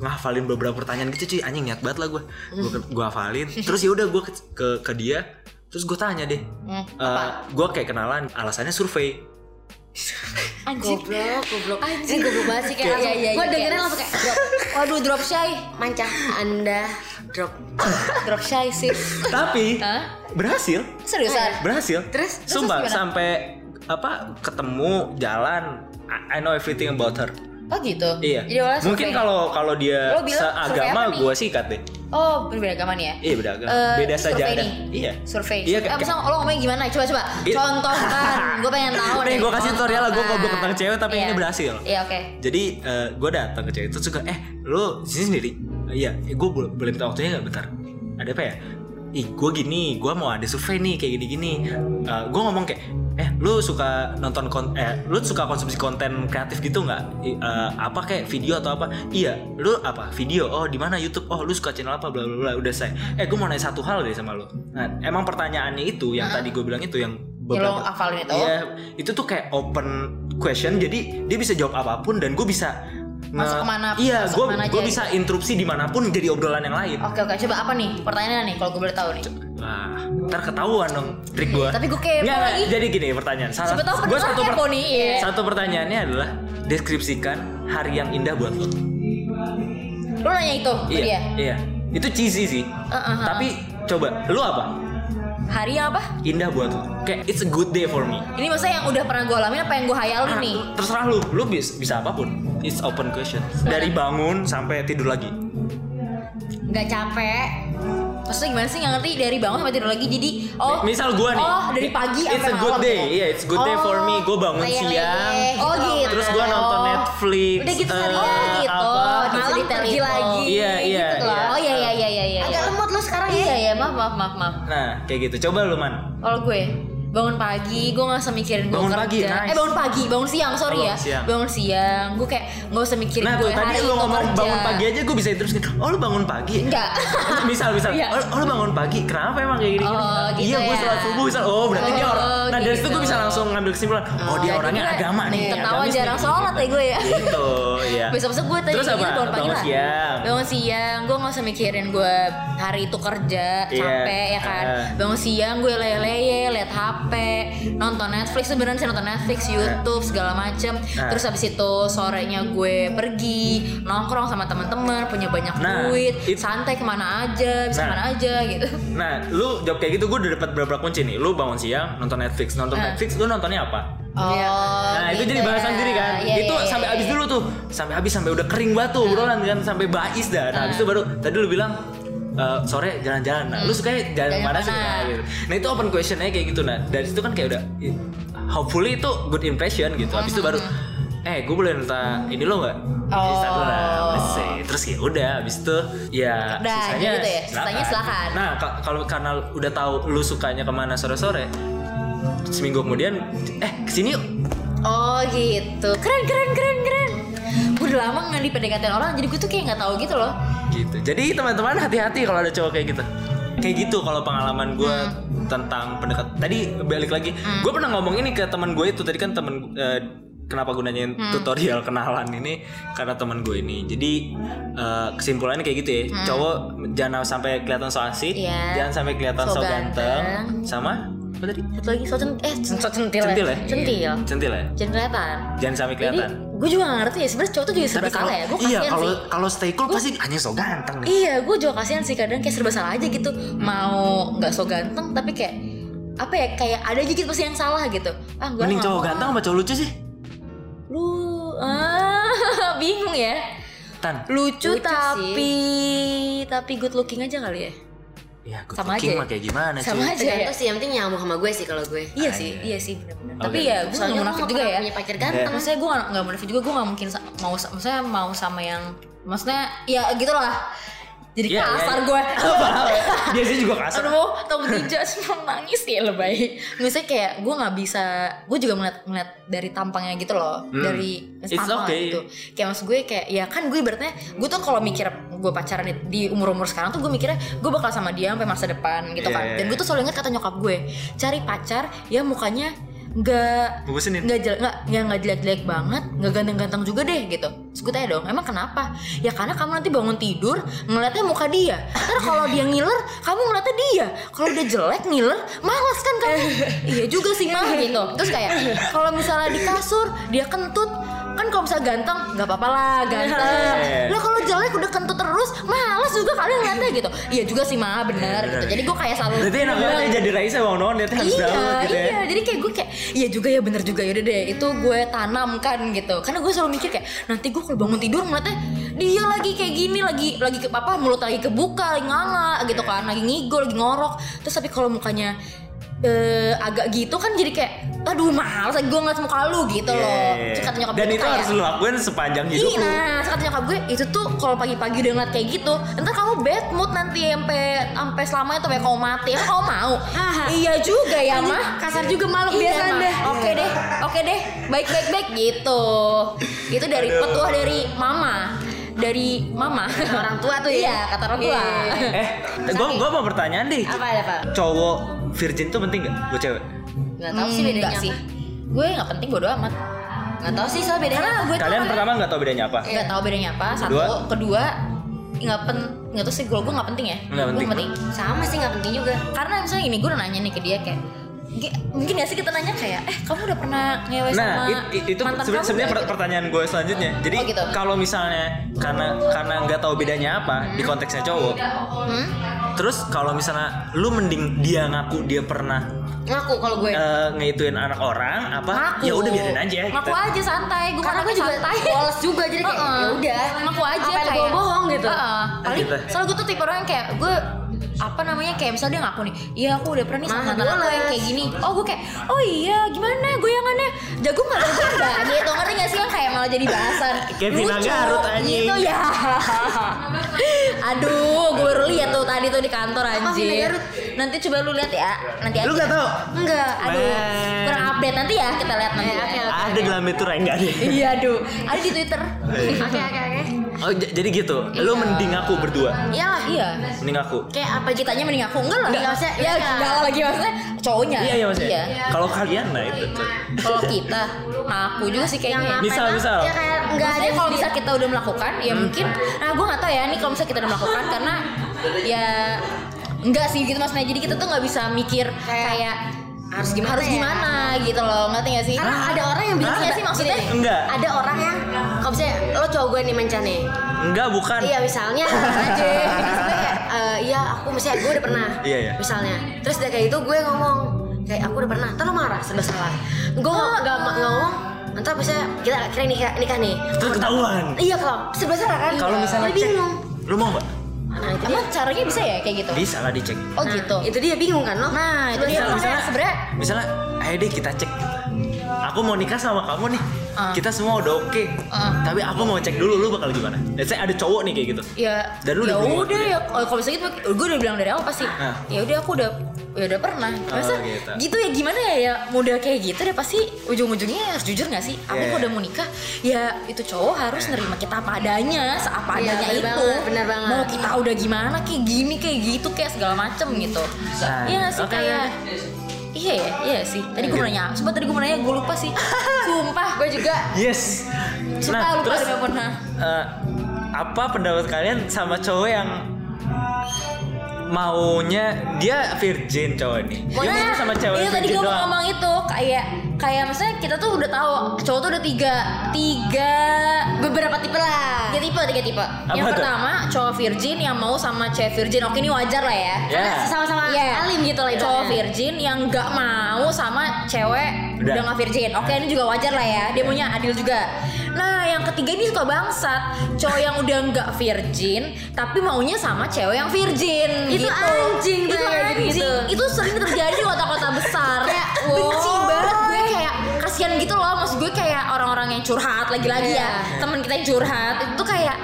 [SPEAKER 1] ngafalin beberapa pertanyaan gitu cuy anjing niat banget lah gue. Gue gue hafalin. Terus ya udah gue ke, ke ke dia. Terus gue tanya deh,
[SPEAKER 2] Hmm,
[SPEAKER 1] gue kayak kenalan, alasannya survei.
[SPEAKER 2] Anjir.
[SPEAKER 3] goblok goblok ini goblok banget sih kayak
[SPEAKER 2] Iya,
[SPEAKER 3] langsung
[SPEAKER 2] iya,
[SPEAKER 3] gue
[SPEAKER 2] iya,
[SPEAKER 3] dengerin
[SPEAKER 2] kayak-
[SPEAKER 3] langsung kayak drop
[SPEAKER 2] Waduh drop shy.
[SPEAKER 3] mancah anda drop
[SPEAKER 2] Drop shy sis.
[SPEAKER 1] Tapi
[SPEAKER 2] Hah?
[SPEAKER 1] berhasil.
[SPEAKER 3] Iya.
[SPEAKER 2] Seriusan?
[SPEAKER 1] berhasil
[SPEAKER 3] Terus?
[SPEAKER 1] sumpah
[SPEAKER 2] Terus gimana?
[SPEAKER 1] sampai apa ketemu jalan I, I know everything about her
[SPEAKER 2] Oh gitu.
[SPEAKER 1] iya
[SPEAKER 2] Jadi awalnya
[SPEAKER 1] mungkin
[SPEAKER 2] survei.
[SPEAKER 1] kalau kalau dia
[SPEAKER 2] Lo bilang survei apa
[SPEAKER 1] seagama
[SPEAKER 2] nih?
[SPEAKER 1] gue sikat deh
[SPEAKER 2] Oh berbeda agama nih ya.
[SPEAKER 1] iya beda agama
[SPEAKER 2] Eh,
[SPEAKER 1] beda
[SPEAKER 2] ini
[SPEAKER 1] saja
[SPEAKER 2] survei
[SPEAKER 1] ada
[SPEAKER 2] nih?
[SPEAKER 1] iya
[SPEAKER 2] Survei.
[SPEAKER 1] iya
[SPEAKER 2] Eh,
[SPEAKER 1] kayak-
[SPEAKER 2] bisa lo ngomongnya gimana? Coba coba.
[SPEAKER 1] Iya. (laughs)
[SPEAKER 2] Contohkan. gue pengen tahu.
[SPEAKER 1] Nih,
[SPEAKER 2] deh,
[SPEAKER 1] gua kasih tutorial lah, gua
[SPEAKER 2] contohkan.
[SPEAKER 1] goblok tentang cewek, tapi
[SPEAKER 2] Iya.
[SPEAKER 1] ini berhasil.
[SPEAKER 2] Iya oke.
[SPEAKER 1] jadi gue datang ke cewek itu suka eh lo sini sendiri iya gue boleh minta waktunya nggak bentar ada apa ya ih gue gini gue mau ada survei nih kayak gini gini gue ngomong kayak eh lu suka nonton kon eh lu suka konsumsi konten kreatif gitu nggak I- eh, apa kayak video atau apa iya lu apa video oh di mana YouTube oh lu suka channel apa bla bla bla udah saya eh gue mau nanya satu hal deh sama lu nah, emang pertanyaannya itu yang tadi gue bilang itu yang
[SPEAKER 2] lo hafalin itu?
[SPEAKER 1] Iya, itu tuh kayak open question jadi dia bisa jawab apapun dan gue bisa
[SPEAKER 2] Masuk
[SPEAKER 1] nge-
[SPEAKER 2] kemana-
[SPEAKER 1] iya
[SPEAKER 2] masuk
[SPEAKER 1] gue
[SPEAKER 2] kemana aja
[SPEAKER 1] gue bisa interupsi dimanapun jadi obrolan yang lain
[SPEAKER 2] Oke oke coba apa nih pertanyaannya nih kalau gue boleh tahu nih.
[SPEAKER 1] Wah, ntar ketahuan dong trik gue
[SPEAKER 2] Tapi gue kepo lagi.
[SPEAKER 1] jadi gini pertanyaan salah
[SPEAKER 2] Siapa tahu
[SPEAKER 1] gua
[SPEAKER 2] pendengar
[SPEAKER 1] satu,
[SPEAKER 2] kepo nih, iya.
[SPEAKER 1] satu pertanyaannya adalah deskripsikan hari yang indah buat lo
[SPEAKER 2] Oh, Lo nanya itu ke
[SPEAKER 1] iya
[SPEAKER 2] dia.
[SPEAKER 1] iya itu cheesy sih
[SPEAKER 2] uh, uh.
[SPEAKER 1] tapi coba lu apa
[SPEAKER 2] Hari yang apa?
[SPEAKER 1] indah buat lo kayak it's a good day for me
[SPEAKER 2] Ini maksudnya yang udah pernah gue alamin apa yang gue hayalin nih?
[SPEAKER 1] terserah lu lu bisa, bisa apapun it's open question dari bangun sampai tidur lagi
[SPEAKER 2] Gak capek. Maksudnya gimana sih nggak ngerti dari bangun sampai tidur lagi jadi oh
[SPEAKER 1] Misal gua nih.
[SPEAKER 2] oh dari pagi
[SPEAKER 1] It's
[SPEAKER 2] sampai
[SPEAKER 1] a good
[SPEAKER 2] malam iya,
[SPEAKER 1] day.
[SPEAKER 2] gitu.
[SPEAKER 1] Iya, it's a good day for me. Gua bangun
[SPEAKER 2] leleh.
[SPEAKER 1] siang.
[SPEAKER 2] oh gitu
[SPEAKER 1] Terus gua nonton Netflix.
[SPEAKER 2] udah gitu
[SPEAKER 1] eh,
[SPEAKER 2] seharian gitu
[SPEAKER 1] apa.
[SPEAKER 2] Bisa
[SPEAKER 3] Malam
[SPEAKER 2] detail
[SPEAKER 3] pergi
[SPEAKER 2] itu.
[SPEAKER 3] lagi,
[SPEAKER 1] Iya, iya,
[SPEAKER 2] gitu lah.
[SPEAKER 1] iya.
[SPEAKER 2] oh iya iya iya iya iya
[SPEAKER 3] agak lemot lo sekarang ya
[SPEAKER 2] iya iya maaf maaf maaf maaf
[SPEAKER 1] Nah, kayak gitu. Coba lu man.
[SPEAKER 2] kalau gue bangun pagi gue nggak usah mikirin gue
[SPEAKER 1] Bangun
[SPEAKER 2] kerja
[SPEAKER 1] pagi, nice.
[SPEAKER 2] eh bangun pagi bangun siang sorry ya
[SPEAKER 1] Oh, bangun siang.
[SPEAKER 2] bangun siang gue kayak nggak usah mikirin
[SPEAKER 1] Nah, tuh
[SPEAKER 2] gue
[SPEAKER 1] tadi
[SPEAKER 2] hari
[SPEAKER 1] lu
[SPEAKER 2] itu
[SPEAKER 1] ngomong
[SPEAKER 2] kerja.
[SPEAKER 1] bangun pagi aja gue bisa terus gitu. Oh, lu bangun pagi?
[SPEAKER 2] enggak
[SPEAKER 1] (laughs) misal misal
[SPEAKER 2] Iya.
[SPEAKER 1] oh, oh, lu bangun pagi kenapa emang kayak gini,
[SPEAKER 2] Oh, gitu
[SPEAKER 1] iya gue
[SPEAKER 2] ya.
[SPEAKER 1] sholat subuh misal oh berarti dia orang
[SPEAKER 2] Oh,
[SPEAKER 1] nah dari
[SPEAKER 2] gitu.
[SPEAKER 1] situ gue bisa langsung ngambil kesimpulan oh, dia orangnya agama nih
[SPEAKER 2] tertawa
[SPEAKER 1] agamis
[SPEAKER 2] jarang
[SPEAKER 1] nih.
[SPEAKER 2] sholat ya gue ya
[SPEAKER 1] gitu ya
[SPEAKER 2] Besok-besok gue tadi
[SPEAKER 1] terus
[SPEAKER 2] kayak
[SPEAKER 1] apa
[SPEAKER 2] gitu bangun pagi
[SPEAKER 1] bangun
[SPEAKER 2] lah.
[SPEAKER 1] siang
[SPEAKER 2] Bangun siang, gue gak usah mikirin gue hari itu kerja,
[SPEAKER 1] Iya,
[SPEAKER 2] capek ya kan.
[SPEAKER 1] eh.
[SPEAKER 2] Bangun siang gue lele-lele, liat HP, nonton Netflix sebenarnya sih nonton Netflix, YouTube segala macem. Terus habis itu sorenya gue pergi nongkrong sama teman-teman, punya banyak
[SPEAKER 1] Nah,
[SPEAKER 2] duit,
[SPEAKER 1] it-
[SPEAKER 2] santai kemana aja, bisa
[SPEAKER 1] Nah.
[SPEAKER 2] kemana aja gitu.
[SPEAKER 1] Nah, lu jawab kayak gitu, gue udah dapat beberapa kunci nih. Lu bangun siang, nonton Netflix, nonton
[SPEAKER 2] Ah.
[SPEAKER 1] Netflix, lu nontonnya apa?
[SPEAKER 2] Oh,
[SPEAKER 1] nah, itu
[SPEAKER 2] gitu
[SPEAKER 1] jadi bahasan
[SPEAKER 2] ya.
[SPEAKER 1] sendiri kan.
[SPEAKER 2] Iya,
[SPEAKER 1] itu
[SPEAKER 2] iya, Nah.
[SPEAKER 1] sampai
[SPEAKER 2] iya,
[SPEAKER 1] habis
[SPEAKER 2] iya.
[SPEAKER 1] dulu tuh, sampai habis sampai udah kering banget tuh obrolan kan, sampai bais dah. Nah, habis itu baru tadi lu bilang "Eh, sore jalan-jalan. Nah, lu suka jalan
[SPEAKER 2] Jalan
[SPEAKER 1] mana sih?
[SPEAKER 2] Hmm. mana?
[SPEAKER 1] Nah, gitu. Nah, itu open questionnya kayak gitu. Nah, dari situ kan kayak udah i- hopefully itu good impression gitu. Habis
[SPEAKER 2] Hmm,
[SPEAKER 1] itu baru eh gue boleh minta ini lo nggak?
[SPEAKER 2] Oh.
[SPEAKER 1] Instagram lah, masih. Terus ya udah, habis itu ya
[SPEAKER 2] Udah,
[SPEAKER 1] sisanya
[SPEAKER 2] gitu ya? Sisanya silakan.
[SPEAKER 1] Nah, ka- kalau karena udah tahu lu sukanya kemana sore-sore, seminggu kemudian, eh kesini yuk.
[SPEAKER 2] Oh gitu, keren keren keren keren. Gue udah lama nggak di PDKT orang, jadi gue tuh kayak nggak tahu gitu loh.
[SPEAKER 1] Gitu. Jadi teman-teman hati-hati kalau ada cowok kayak gitu. Kayak gitu kalau pengalaman gue
[SPEAKER 2] Hmm.
[SPEAKER 1] tentang pendekat. Tadi balik lagi, gue pernah ngomong ini ke teman gue itu tadi kan teman eh, kenapa gue nanyain
[SPEAKER 2] Hmm.
[SPEAKER 1] tutorial kenalan ini karena teman gue ini. Jadi eh, kesimpulannya kayak gitu ya, cowok jangan sampai kelihatan so asik,
[SPEAKER 2] Hmm. Iya.
[SPEAKER 1] jangan sampai kelihatan so,
[SPEAKER 2] So
[SPEAKER 1] ganteng.
[SPEAKER 2] ganteng.
[SPEAKER 1] sama apa tadi?
[SPEAKER 2] Satu lagi so cen- eh so centil,
[SPEAKER 1] Centil ya?
[SPEAKER 3] Iya.
[SPEAKER 2] centil.
[SPEAKER 1] Centil ya.
[SPEAKER 2] Jangan kelihatan.
[SPEAKER 1] Jangan sampai
[SPEAKER 2] Jadi
[SPEAKER 1] kelihatan.
[SPEAKER 2] gue juga gak ngerti ya sebenarnya cowok tuh juga serba
[SPEAKER 1] Tapi kalau
[SPEAKER 2] salah ya. Gue
[SPEAKER 1] iya
[SPEAKER 2] kasihan
[SPEAKER 1] kalau
[SPEAKER 2] sih.
[SPEAKER 1] kalau stay cool pasti hanya so ganteng nih.
[SPEAKER 2] Iya, gue juga kasihan sih kadang kayak serba salah aja gitu. Mau nggak so ganteng tapi kayak apa ya kayak ada aja gitu pasti yang salah gitu. Ah, gue
[SPEAKER 1] Mending cowok ganteng sama cowok lucu sih?
[SPEAKER 2] Lu ah, (laughs) bingung ya.
[SPEAKER 1] Tan.
[SPEAKER 2] Lucu,
[SPEAKER 3] Lucu
[SPEAKER 2] tapi tapi good looking aja kali ya.
[SPEAKER 1] Ya, good
[SPEAKER 2] Sama
[SPEAKER 1] looking
[SPEAKER 2] aja
[SPEAKER 1] mah
[SPEAKER 2] ya?
[SPEAKER 1] kayak gimana
[SPEAKER 2] Sama aja
[SPEAKER 1] cuy?
[SPEAKER 2] ya.
[SPEAKER 3] tergantung sih yang penting nyambung sama gue sih kalau gue
[SPEAKER 2] Iya
[SPEAKER 1] Ah,
[SPEAKER 2] sih,
[SPEAKER 1] iya.
[SPEAKER 2] iya, sih benar-benar.
[SPEAKER 1] Oke.
[SPEAKER 2] Tapi ya gue nggak
[SPEAKER 3] soalnya gue
[SPEAKER 2] munafik juga
[SPEAKER 3] nggak pernah
[SPEAKER 2] ya.
[SPEAKER 1] Iya.
[SPEAKER 3] punya pacar ganteng
[SPEAKER 2] Maksudnya gue nggak nggak munafik juga, gue nggak mungkin sa- mau, sa- maksudnya mau sama yang maksudnya ya gitulah jadi
[SPEAKER 1] Iya, iya,
[SPEAKER 2] kasar
[SPEAKER 1] iya. (laughs)
[SPEAKER 2] gue
[SPEAKER 1] Dia sih juga kasar.
[SPEAKER 2] aduh tau tidak (laughs) nangis ya lebay misalnya kayak gue nggak bisa gue juga ngeliat ngeliat dari tampangnya gitu loh
[SPEAKER 1] Hmm.
[SPEAKER 2] dari
[SPEAKER 1] It's
[SPEAKER 2] tampang
[SPEAKER 1] okay.
[SPEAKER 2] gitu kayak maksud gue kayak ya kan gue ibaratnya gue tuh kalau mikir gue pacaran di, umur umur sekarang tuh gue mikirnya gue bakal sama dia sampai masa depan gitu kan
[SPEAKER 1] Yeah.
[SPEAKER 2] dan gue tuh selalu inget kata nyokap gue cari pacar ya mukanya nggak
[SPEAKER 1] Gue bosenin.
[SPEAKER 2] nggak jelek nggak ya nggak jelek-jelek banget nggak ganteng-ganteng juga deh gitu Terus gue tanya dong emang kenapa ya karena kamu nanti bangun tidur ngeliatnya muka dia ntar kalau dia ngiler kamu ngeliatnya dia kalau udah jelek ngiler malas kan kamu
[SPEAKER 1] (laughs)
[SPEAKER 2] iya juga sih mah gitu terus kayak kalau misalnya di kasur dia kentut kan kalau misalnya ganteng nggak apa-apa lah ganteng
[SPEAKER 1] Iya.
[SPEAKER 2] lah kalau jelek udah kentut terus malas juga kalian ngeliatnya gitu iya juga sih mah bener
[SPEAKER 1] Iya,
[SPEAKER 2] gitu
[SPEAKER 1] bener.
[SPEAKER 2] jadi gue kayak selalu
[SPEAKER 1] Berarti enak banget ya jadi Raisa Bang Noon liatnya harus
[SPEAKER 2] iya,
[SPEAKER 1] daud gitu ya.
[SPEAKER 2] Iya, jadi kayak gue kayak iya juga ya bener juga yaudah deh itu gue tanamkan gitu. Karena gue selalu mikir kayak nanti gue kalau bangun tidur ngeliatnya dia lagi kayak gini lagi lagi ke apa mulut lagi kebuka lagi nganga gitu kan lagi ngigol lagi ngorok terus tapi kalau mukanya eh, agak gitu kan jadi kayak aduh mahal gue ngeliat muka lu gitu loh
[SPEAKER 1] Iya.
[SPEAKER 2] Terus kata nyokap
[SPEAKER 1] Dan
[SPEAKER 2] gue
[SPEAKER 1] itu
[SPEAKER 2] kayak,
[SPEAKER 1] harus lu lakuin sepanjang hidup
[SPEAKER 2] Iya,
[SPEAKER 1] lu.
[SPEAKER 2] nah, kata nyokap gue itu tuh kalau pagi-pagi udah ngeliat kayak gitu, entar kamu bad mood nanti sampai sampai selamanya tuh kayak kamu mati. Emang kamu mau? iya juga ya, mah.
[SPEAKER 3] kasar juga malu
[SPEAKER 2] Iya,
[SPEAKER 3] kebiasaan
[SPEAKER 2] Ma.
[SPEAKER 3] deh.
[SPEAKER 2] Oke deh, oke deh. Baik baik baik gitu. Itu dari petuah dari mama. Dari mama.
[SPEAKER 3] Orang tua tuh ya?
[SPEAKER 2] Iya, kata orang tua.
[SPEAKER 3] Iya.
[SPEAKER 1] Eh, gua gua mau pertanyaan deh.
[SPEAKER 3] Apa ada pak?
[SPEAKER 1] Cowok virgin tuh penting gak? Gue cewek.
[SPEAKER 3] Gak tau sih
[SPEAKER 2] Hmm,
[SPEAKER 3] bedanya
[SPEAKER 2] nggak
[SPEAKER 3] sih.
[SPEAKER 2] sih. Gue nggak penting bodo amat.
[SPEAKER 3] Gak tau sih soal bedanya.
[SPEAKER 2] Karena gue tuh
[SPEAKER 1] Kalian
[SPEAKER 2] orangnya-
[SPEAKER 1] pertama nggak tau bedanya apa?
[SPEAKER 2] nggak tahu bedanya apa satu
[SPEAKER 1] Iya. Kedua?
[SPEAKER 2] kedua nggak pen nggak tahu sih gue gue nggak penting ya
[SPEAKER 1] Nggak
[SPEAKER 2] Gue
[SPEAKER 1] penting.
[SPEAKER 3] Sama sih gak penting juga.
[SPEAKER 2] karena misalnya gini gue udah nanya nih ke dia kayak "Ge- mungkin gak sih kita nanya kayak eh kamu udah pernah ngewe
[SPEAKER 1] Nah,
[SPEAKER 2] sama
[SPEAKER 1] it- it- itu
[SPEAKER 2] mantan
[SPEAKER 1] seben-
[SPEAKER 2] kamu
[SPEAKER 1] sebenarnya
[SPEAKER 2] nggak?"
[SPEAKER 1] per- pertanyaan gue selanjutnya. Jadi
[SPEAKER 2] Oh, gitu.
[SPEAKER 1] kalau misalnya karena karena nggak tahu bedanya apa di konteksnya cowok.
[SPEAKER 2] Hmm?
[SPEAKER 1] Terus kalau misalnya lu mending dia ngaku dia pernah
[SPEAKER 3] Ngaku kalau gue.
[SPEAKER 1] eh, ngeituin anak orang apa?
[SPEAKER 2] Ngaku.
[SPEAKER 1] Ya udah biarin aja.
[SPEAKER 2] Ngaku
[SPEAKER 1] gitu.
[SPEAKER 2] aja santai, gue
[SPEAKER 3] Karena gue juga
[SPEAKER 2] santai.
[SPEAKER 3] polos juga jadi kayak
[SPEAKER 2] Heeh.
[SPEAKER 3] ya udah.
[SPEAKER 2] Ngaku Ah. aja
[SPEAKER 3] Apa yang
[SPEAKER 2] kayak
[SPEAKER 3] gue bohong gitu.
[SPEAKER 2] Heeh. Paling
[SPEAKER 1] Gitu.
[SPEAKER 2] soalnya gue tuh tipe orang yang kayak gue apa namanya kayak misalnya dia ngaku nih iya aku udah pernah nih sama
[SPEAKER 3] Mah,
[SPEAKER 2] mantan aku yang
[SPEAKER 3] bolos.
[SPEAKER 2] kayak gini oh gue kayak oh iya gimana goyangannya jago nggak jago nggak gitu ngerti gak sih yang kayak malah jadi bahasan
[SPEAKER 1] Kayak Vina
[SPEAKER 2] Lucu,
[SPEAKER 1] Garut, anjing.
[SPEAKER 2] gitu ya aduh gue baru lihat tuh tadi tuh di kantor
[SPEAKER 3] Vina
[SPEAKER 2] anjir
[SPEAKER 3] Garut?
[SPEAKER 2] nanti coba lu lihat ya nanti aja
[SPEAKER 1] Lu nggak tahu?
[SPEAKER 2] enggak aduh
[SPEAKER 1] Man.
[SPEAKER 2] kurang update nanti ya kita lihat nanti ya.
[SPEAKER 3] Ya, oke,
[SPEAKER 1] Ada dalam itu enggak deh.
[SPEAKER 2] iya aduh ada di twitter
[SPEAKER 1] Iya.
[SPEAKER 3] Oke oke oke.
[SPEAKER 1] Oh, j- jadi gitu. Lu mending aku berdua.
[SPEAKER 3] Iyalah.
[SPEAKER 2] iya
[SPEAKER 1] Mending aku.
[SPEAKER 3] Kayak apa gitu.
[SPEAKER 2] kitanya mending aku enggak lah
[SPEAKER 3] Enggak, maksudnya
[SPEAKER 2] ya
[SPEAKER 3] mereka.
[SPEAKER 2] enggak lah lagi maksudnya cowoknya
[SPEAKER 1] Iya, iya maksudnya. Kalau kalian nah itu. tuh.
[SPEAKER 2] kalau kita ngaku juga sih
[SPEAKER 3] Yang
[SPEAKER 2] kayaknya
[SPEAKER 3] apa
[SPEAKER 1] Misal,
[SPEAKER 3] emang?
[SPEAKER 1] misal.
[SPEAKER 3] Ya kayak
[SPEAKER 2] Enggak
[SPEAKER 3] nggak
[SPEAKER 2] ada
[SPEAKER 3] ada Hmm.
[SPEAKER 2] kalau bisa kita udah melakukan ya mungkin nah gue nggak tahu ya ini kalau misalnya kita udah melakukan karena ya enggak sih gitu maksudnya jadi kita tuh nggak bisa mikir kayak,
[SPEAKER 3] harus gimana
[SPEAKER 2] harus
[SPEAKER 3] ya?
[SPEAKER 2] gimana gitu loh ngerti gak sih Nah,
[SPEAKER 3] Karena ada orang yang bilang
[SPEAKER 2] Ngerti nggak sih maksudnya
[SPEAKER 1] Enggak.
[SPEAKER 3] Ada orang yang kalau misalnya lo cowok gue nih mencan nih.
[SPEAKER 1] Enggak bukan.
[SPEAKER 3] Iya
[SPEAKER 1] (laughs)
[SPEAKER 3] misalnya aja. Maksud gue kayak, eh, iya aku misalnya gue udah pernah.
[SPEAKER 1] Iya, iya.
[SPEAKER 3] Misalnya. Terus udah kayak itu gue ngomong kayak aku udah pernah. Ntar lo marah serba salah. Gue nggak ma- nggak ngomong. Ntar misalnya kita kira nikah nikah nih.
[SPEAKER 1] Terus ketahuan.
[SPEAKER 3] Iya kalau serba salah kan.
[SPEAKER 1] Kalau misalnya
[SPEAKER 3] Gue
[SPEAKER 1] cek,
[SPEAKER 3] bingung.
[SPEAKER 1] lu mau nggak?
[SPEAKER 3] Nah, itu dia.
[SPEAKER 2] emang caranya bisa ya kayak gitu
[SPEAKER 1] Bisa lah dicek.
[SPEAKER 2] oh
[SPEAKER 3] Nah,
[SPEAKER 2] gitu
[SPEAKER 3] Itu dia bingung kan lo.
[SPEAKER 2] nah itu
[SPEAKER 3] Serba
[SPEAKER 2] dia
[SPEAKER 3] salah.
[SPEAKER 2] makanya sebenernya
[SPEAKER 1] Misalnya, ayo deh kita cek. Aku mau nikah sama kamu nih.
[SPEAKER 2] Ah.
[SPEAKER 1] Kita semua udah oke.
[SPEAKER 2] Ah.
[SPEAKER 1] Tapi aku mau cek dulu lu bakal gimana. Dan saya ada cowok nih kayak gitu.
[SPEAKER 2] ya
[SPEAKER 1] Dan lu
[SPEAKER 2] ya
[SPEAKER 1] udah berhubungan
[SPEAKER 2] udah ya oh, kalau misalnya gitu gue udah bilang dari awal pasti
[SPEAKER 1] Nah.
[SPEAKER 2] ya udah aku udah ya udah pernah masa
[SPEAKER 1] gitu.
[SPEAKER 2] gitu. ya gimana ya ya mudah kayak gitu deh pasti ujung-ujungnya harus jujur gak sih aku
[SPEAKER 1] Yeah.
[SPEAKER 2] kalau udah mau nikah ya itu cowok harus nerima kita apa adanya seapa
[SPEAKER 3] Iya,
[SPEAKER 2] adanya
[SPEAKER 3] bener
[SPEAKER 2] itu
[SPEAKER 3] banget, bener banget.
[SPEAKER 2] mau kita udah gimana kayak gini kayak gitu kayak segala macem gitu
[SPEAKER 1] Nah,
[SPEAKER 2] Iya gak sih
[SPEAKER 1] oke.
[SPEAKER 2] kayak iya ya iya sih tadi gue mau nanya sempat tadi gue mau nanya gue lupa
[SPEAKER 3] (laughs)
[SPEAKER 2] sih sumpah gue juga
[SPEAKER 1] Yes.
[SPEAKER 2] sumpah
[SPEAKER 1] Nah,
[SPEAKER 2] lupa
[SPEAKER 1] terus
[SPEAKER 2] udah pernah
[SPEAKER 1] eh, apa pendapat kalian sama cowok yang maunya dia virgin cowok nih. Dia
[SPEAKER 2] Nah,
[SPEAKER 1] maunya sama cewek
[SPEAKER 2] Iya tadi
[SPEAKER 1] virgin
[SPEAKER 2] gue mau
[SPEAKER 1] doang.
[SPEAKER 2] ngomong itu kayak kayak maksudnya kita tuh udah tahu cowok tuh udah tiga tiga
[SPEAKER 3] Beberapa tipe lah.
[SPEAKER 2] tiga tipe tiga tipe. yang
[SPEAKER 1] tuh?
[SPEAKER 2] pertama cowok virgin yang mau sama cewek virgin. Oke ini wajar lah ya.
[SPEAKER 1] Ya.
[SPEAKER 3] Karena sama-sama
[SPEAKER 2] Iya.
[SPEAKER 3] alim gitu lah
[SPEAKER 2] Cowok
[SPEAKER 3] ibaratnya.
[SPEAKER 2] virgin yang nggak mau sama cewek
[SPEAKER 1] Udah. Iya.
[SPEAKER 2] udah nggak virgin. Oke ini juga wajar lah ya. Dia punya adil juga. Nah yang ketiga ini suka bangsat cowok yang udah nggak virgin tapi maunya sama cewek yang virgin. gitu.
[SPEAKER 3] Itu anjing tuh
[SPEAKER 2] itu
[SPEAKER 3] ya,
[SPEAKER 2] anjing.
[SPEAKER 3] gitu-gitu.
[SPEAKER 2] Itu sering terjadi di kota-kota besar.
[SPEAKER 3] Kayak
[SPEAKER 2] benci
[SPEAKER 3] wow.
[SPEAKER 2] banget gue kayak kasihan gitu loh. Maksud gue kayak orang-orang yang curhat lagi-lagi
[SPEAKER 3] Iya.
[SPEAKER 2] ya. Temen kita yang curhat itu tuh kayak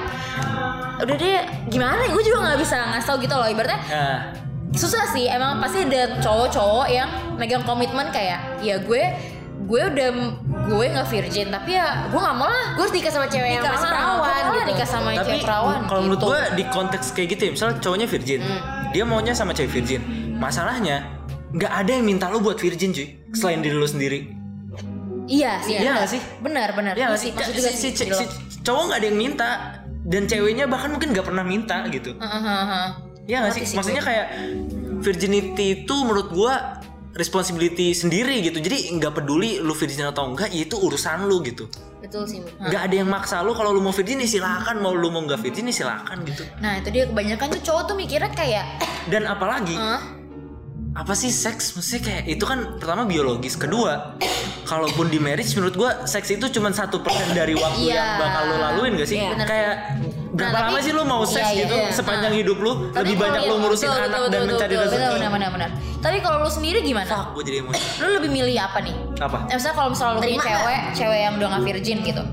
[SPEAKER 2] udah deh gimana ya?" gue juga nggak bisa ngasih tau gitu loh ibaratnya
[SPEAKER 1] Nah,
[SPEAKER 2] susah sih emang pasti ada cowok-cowok yang megang komitmen kayak ya gue gue udah gue nggak virgin tapi ya gue nggak mau lah
[SPEAKER 3] Gue harus nikah sama cewek yang
[SPEAKER 2] nikah
[SPEAKER 3] masih
[SPEAKER 2] sama
[SPEAKER 3] perawan gitu.
[SPEAKER 2] nikah sama
[SPEAKER 1] tapi
[SPEAKER 2] cewek perawan
[SPEAKER 1] kalau menurut
[SPEAKER 2] gitu. Hmm.
[SPEAKER 1] gue di konteks kayak gitu ya, misalnya cowoknya virgin, dia maunya sama cewek virgin. Masalahnya nggak ada yang minta lo buat virgin cuy, selain diri lo sendiri.
[SPEAKER 2] iya sih
[SPEAKER 1] Iya
[SPEAKER 2] benar.
[SPEAKER 1] nggak sih?
[SPEAKER 2] benar benar
[SPEAKER 1] Ya
[SPEAKER 2] Iya
[SPEAKER 1] nggak sih,
[SPEAKER 2] maksud
[SPEAKER 1] Ka-
[SPEAKER 2] juga
[SPEAKER 1] si,
[SPEAKER 2] sih
[SPEAKER 1] si-
[SPEAKER 2] gitu
[SPEAKER 1] si cowok nggak ada yang minta dan ceweknya bahkan mungkin nggak pernah minta gitu.
[SPEAKER 2] Heeh, heeh, heeh.
[SPEAKER 1] Iya nggak sih?
[SPEAKER 2] Ngerti sih
[SPEAKER 1] Maksudnya kayak virginity itu menurut gue responsibility sendiri gitu. Jadi nggak peduli lu virgin atau enggak, ya itu urusan lu gitu.
[SPEAKER 2] betul sih Mi.
[SPEAKER 1] nggak ada yang maksa lu kalau lu mau virgin ya silakan mau lu mau nggak virgin ya silakan gitu
[SPEAKER 2] nah itu dia kebanyakan tuh cowok tuh mikirnya kayak "Eh,
[SPEAKER 1] dan apalagi
[SPEAKER 2] "Hah?
[SPEAKER 1] apa sih seks maksudnya kayak itu kan pertama biologis kedua kalaupun di marriage menurut gua seks itu cuma satu persen dari waktu
[SPEAKER 2] Iya.
[SPEAKER 1] yang bakal lu laluin gak sih
[SPEAKER 2] Iya, bener
[SPEAKER 1] kayak berapa
[SPEAKER 2] Nah,
[SPEAKER 1] lama
[SPEAKER 2] tapi-
[SPEAKER 1] sih lu mau seks
[SPEAKER 2] Iya, iya,
[SPEAKER 1] gitu
[SPEAKER 2] iya.
[SPEAKER 1] sepanjang
[SPEAKER 2] Nah.
[SPEAKER 1] hidup lu
[SPEAKER 2] Tapi
[SPEAKER 1] lebih
[SPEAKER 2] kalau
[SPEAKER 1] banyak
[SPEAKER 2] iya,
[SPEAKER 1] lu ngurusin
[SPEAKER 2] betul,
[SPEAKER 1] anak
[SPEAKER 2] betul,
[SPEAKER 1] dan
[SPEAKER 2] betul,
[SPEAKER 1] mencari
[SPEAKER 2] betul, betul,
[SPEAKER 1] rezeki
[SPEAKER 2] benar benar benar tapi kalau lu sendiri gimana
[SPEAKER 1] gue jadi emosi
[SPEAKER 2] lu lebih milih apa nih
[SPEAKER 1] apa
[SPEAKER 2] Eh, misalnya kalau misalnya lu punya
[SPEAKER 3] Terima
[SPEAKER 2] cewek, cewek yang udah nggak virgin gitu.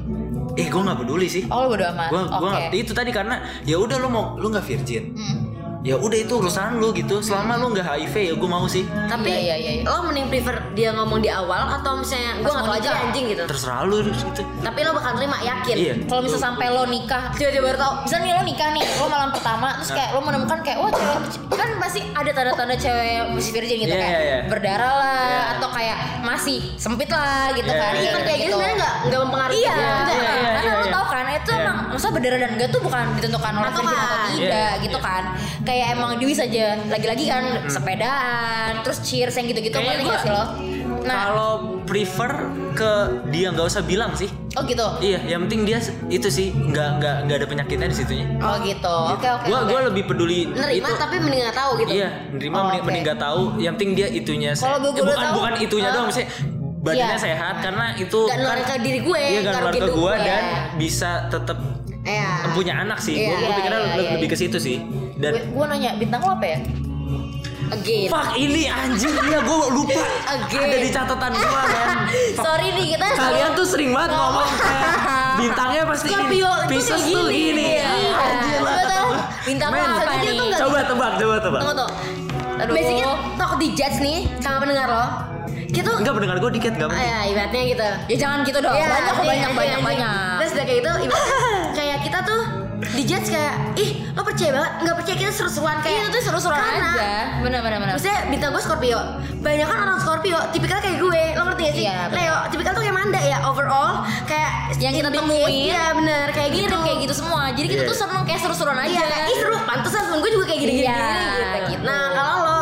[SPEAKER 1] eh gua nggak peduli sih
[SPEAKER 2] Oh, lu bodo amat.
[SPEAKER 1] gua
[SPEAKER 2] Oke.
[SPEAKER 1] gua nggak- itu tadi karena ya udah lu mau lu nggak virgin
[SPEAKER 2] Hmm.
[SPEAKER 1] ya udah itu urusan lu gitu selama lu nggak HIV ya gua mau sih
[SPEAKER 3] Nah, Tapi
[SPEAKER 2] Iya, iya, iya, iya.
[SPEAKER 3] lo mending prefer dia ngomong di awal atau misalnya gue
[SPEAKER 2] Pas
[SPEAKER 3] nggak
[SPEAKER 2] mau
[SPEAKER 3] tau aja
[SPEAKER 2] nikah. Iya,
[SPEAKER 3] anjing gitu.
[SPEAKER 1] terserah lu gitu
[SPEAKER 3] Tapi lo bakal terima yakin.
[SPEAKER 1] Iya.
[SPEAKER 2] Kalau misalnya sampai lo nikah,
[SPEAKER 3] Coba coba baru tau.
[SPEAKER 2] misalnya nih lo nikah nih, lo malam pertama terus kayak lo menemukan kayak wah cewek kan pasti ada tanda-tanda cewek yang masih virgin gitu
[SPEAKER 1] Iya,
[SPEAKER 2] kayak
[SPEAKER 1] iya, iya.
[SPEAKER 2] berdarah lah
[SPEAKER 1] Iya.
[SPEAKER 2] atau kayak masih sempit lah gitu
[SPEAKER 1] Iya,
[SPEAKER 2] kan.
[SPEAKER 1] iya,
[SPEAKER 2] Iya,
[SPEAKER 1] iya.
[SPEAKER 2] kayak gitu.
[SPEAKER 3] sebenarnya nggak nggak mempengaruhi.
[SPEAKER 2] Iya,
[SPEAKER 3] gitu.
[SPEAKER 2] iya,
[SPEAKER 3] Enggak.
[SPEAKER 1] iya,
[SPEAKER 2] karena lo
[SPEAKER 1] iya.
[SPEAKER 2] tau kan itu
[SPEAKER 1] Iya.
[SPEAKER 2] emang maksudnya berdarah dan enggak tuh bukan ditentukan oleh
[SPEAKER 3] Atau
[SPEAKER 2] virgin atau
[SPEAKER 3] kan.
[SPEAKER 2] tidak
[SPEAKER 1] Iya,
[SPEAKER 2] gitu kan. Kayak emang Dewi saja lagi-lagi kan sepedaan, terus cheers yang gitu-gitu
[SPEAKER 1] Kayaknya
[SPEAKER 2] ngerti
[SPEAKER 1] gua-
[SPEAKER 2] gak sih lo? Nah,
[SPEAKER 1] kalau prefer ke dia nggak usah bilang sih
[SPEAKER 2] oh gitu.
[SPEAKER 1] iya yang penting dia s- itu sih nggak nggak nggak ada penyakitnya di situnya
[SPEAKER 2] Oh gitu. Oke oke.
[SPEAKER 1] Iya. gua
[SPEAKER 2] oke.
[SPEAKER 1] gua lebih peduli
[SPEAKER 3] Nerima
[SPEAKER 1] itu
[SPEAKER 3] tapi mending nggak tahu gitu.
[SPEAKER 1] iya nerima
[SPEAKER 2] Oh,
[SPEAKER 1] mending
[SPEAKER 2] oke.
[SPEAKER 1] mending nggak tahu yang penting dia itunya se-
[SPEAKER 2] Kalau gua- gua
[SPEAKER 1] eh, bukan
[SPEAKER 2] tahu,
[SPEAKER 1] bukan itunya
[SPEAKER 2] ah.
[SPEAKER 1] doang sih badannya
[SPEAKER 2] Iya.
[SPEAKER 1] sehat karena itu kan
[SPEAKER 3] Nggak nular ke diri gue,
[SPEAKER 1] iya nggak
[SPEAKER 3] nggak
[SPEAKER 1] nular ke
[SPEAKER 3] rugiin
[SPEAKER 1] gua
[SPEAKER 3] gue.
[SPEAKER 1] dan bisa tetap
[SPEAKER 3] Iya.
[SPEAKER 1] punya anak sih
[SPEAKER 3] Iya,
[SPEAKER 1] gua, gua
[SPEAKER 2] iya,
[SPEAKER 1] pikirnya
[SPEAKER 2] iya,
[SPEAKER 1] lebih,
[SPEAKER 2] iya,
[SPEAKER 1] lebih ke situ sih dan
[SPEAKER 2] Gue gue nanya bintang lo apa ya?
[SPEAKER 3] Again.
[SPEAKER 1] Fuck ini anjing iya gua lupa
[SPEAKER 3] Again.
[SPEAKER 1] ada di catatan gua kan
[SPEAKER 2] Sorry nih kita.
[SPEAKER 1] Kalian tuh sering banget ngomong kayak bintangnya pasti ini.
[SPEAKER 3] Scorpio itu
[SPEAKER 1] Pisces
[SPEAKER 3] kayak
[SPEAKER 1] tuh
[SPEAKER 3] gini.
[SPEAKER 1] gini.
[SPEAKER 3] Iya.
[SPEAKER 2] Ah,
[SPEAKER 1] Anjir lah.
[SPEAKER 2] Coba tahu bintang lo
[SPEAKER 1] Men,
[SPEAKER 2] apa
[SPEAKER 3] dia
[SPEAKER 2] nih?
[SPEAKER 3] tuh nggak-
[SPEAKER 1] Coba tebak, coba tebak.
[SPEAKER 3] Tunggu tuh.
[SPEAKER 2] Aduh.
[SPEAKER 3] Basicnya talk di judge nih sama pendengar lo. Kita tuh
[SPEAKER 1] Enggak pendengar gue dikit enggak
[SPEAKER 2] Iya.
[SPEAKER 1] mungkin.
[SPEAKER 3] ya ibaratnya gitu.
[SPEAKER 2] Ya jangan Ah, gitu dong.
[SPEAKER 3] Iya,
[SPEAKER 2] banyak
[SPEAKER 3] iya,
[SPEAKER 2] banyak
[SPEAKER 3] iya,
[SPEAKER 2] banyak
[SPEAKER 3] iya.
[SPEAKER 2] banyak.
[SPEAKER 3] Terus udah kayak itu ibaratnya kayak kita tuh di judge kayak ih lo percaya banget nggak percaya kita seru-seruan kayak
[SPEAKER 2] Iya, itu tuh seru-seruan
[SPEAKER 3] Karena-
[SPEAKER 2] aja. Benar benar benar.
[SPEAKER 3] Maksudnya bintang gue Scorpio Banyak kan orang Scorpio Tipikal kayak gue Lo ngerti gak sih?
[SPEAKER 2] Iya, bener.
[SPEAKER 3] Leo Tipikal tuh kayak Manda ya Overall Kayak
[SPEAKER 2] Yang kita
[SPEAKER 3] in the
[SPEAKER 2] temuin.
[SPEAKER 3] case, Iya bener Kayak
[SPEAKER 2] Mirip
[SPEAKER 3] gitu
[SPEAKER 2] kayak gitu semua. Jadi kita
[SPEAKER 1] Iya.
[SPEAKER 2] tuh seneng kayak seru-seruan aja.
[SPEAKER 3] Iya kayak Ih seru Pantesan temen gue juga kayak gini-gini
[SPEAKER 2] Iya,
[SPEAKER 3] gitu.
[SPEAKER 2] gitu.
[SPEAKER 3] Nah kalau lo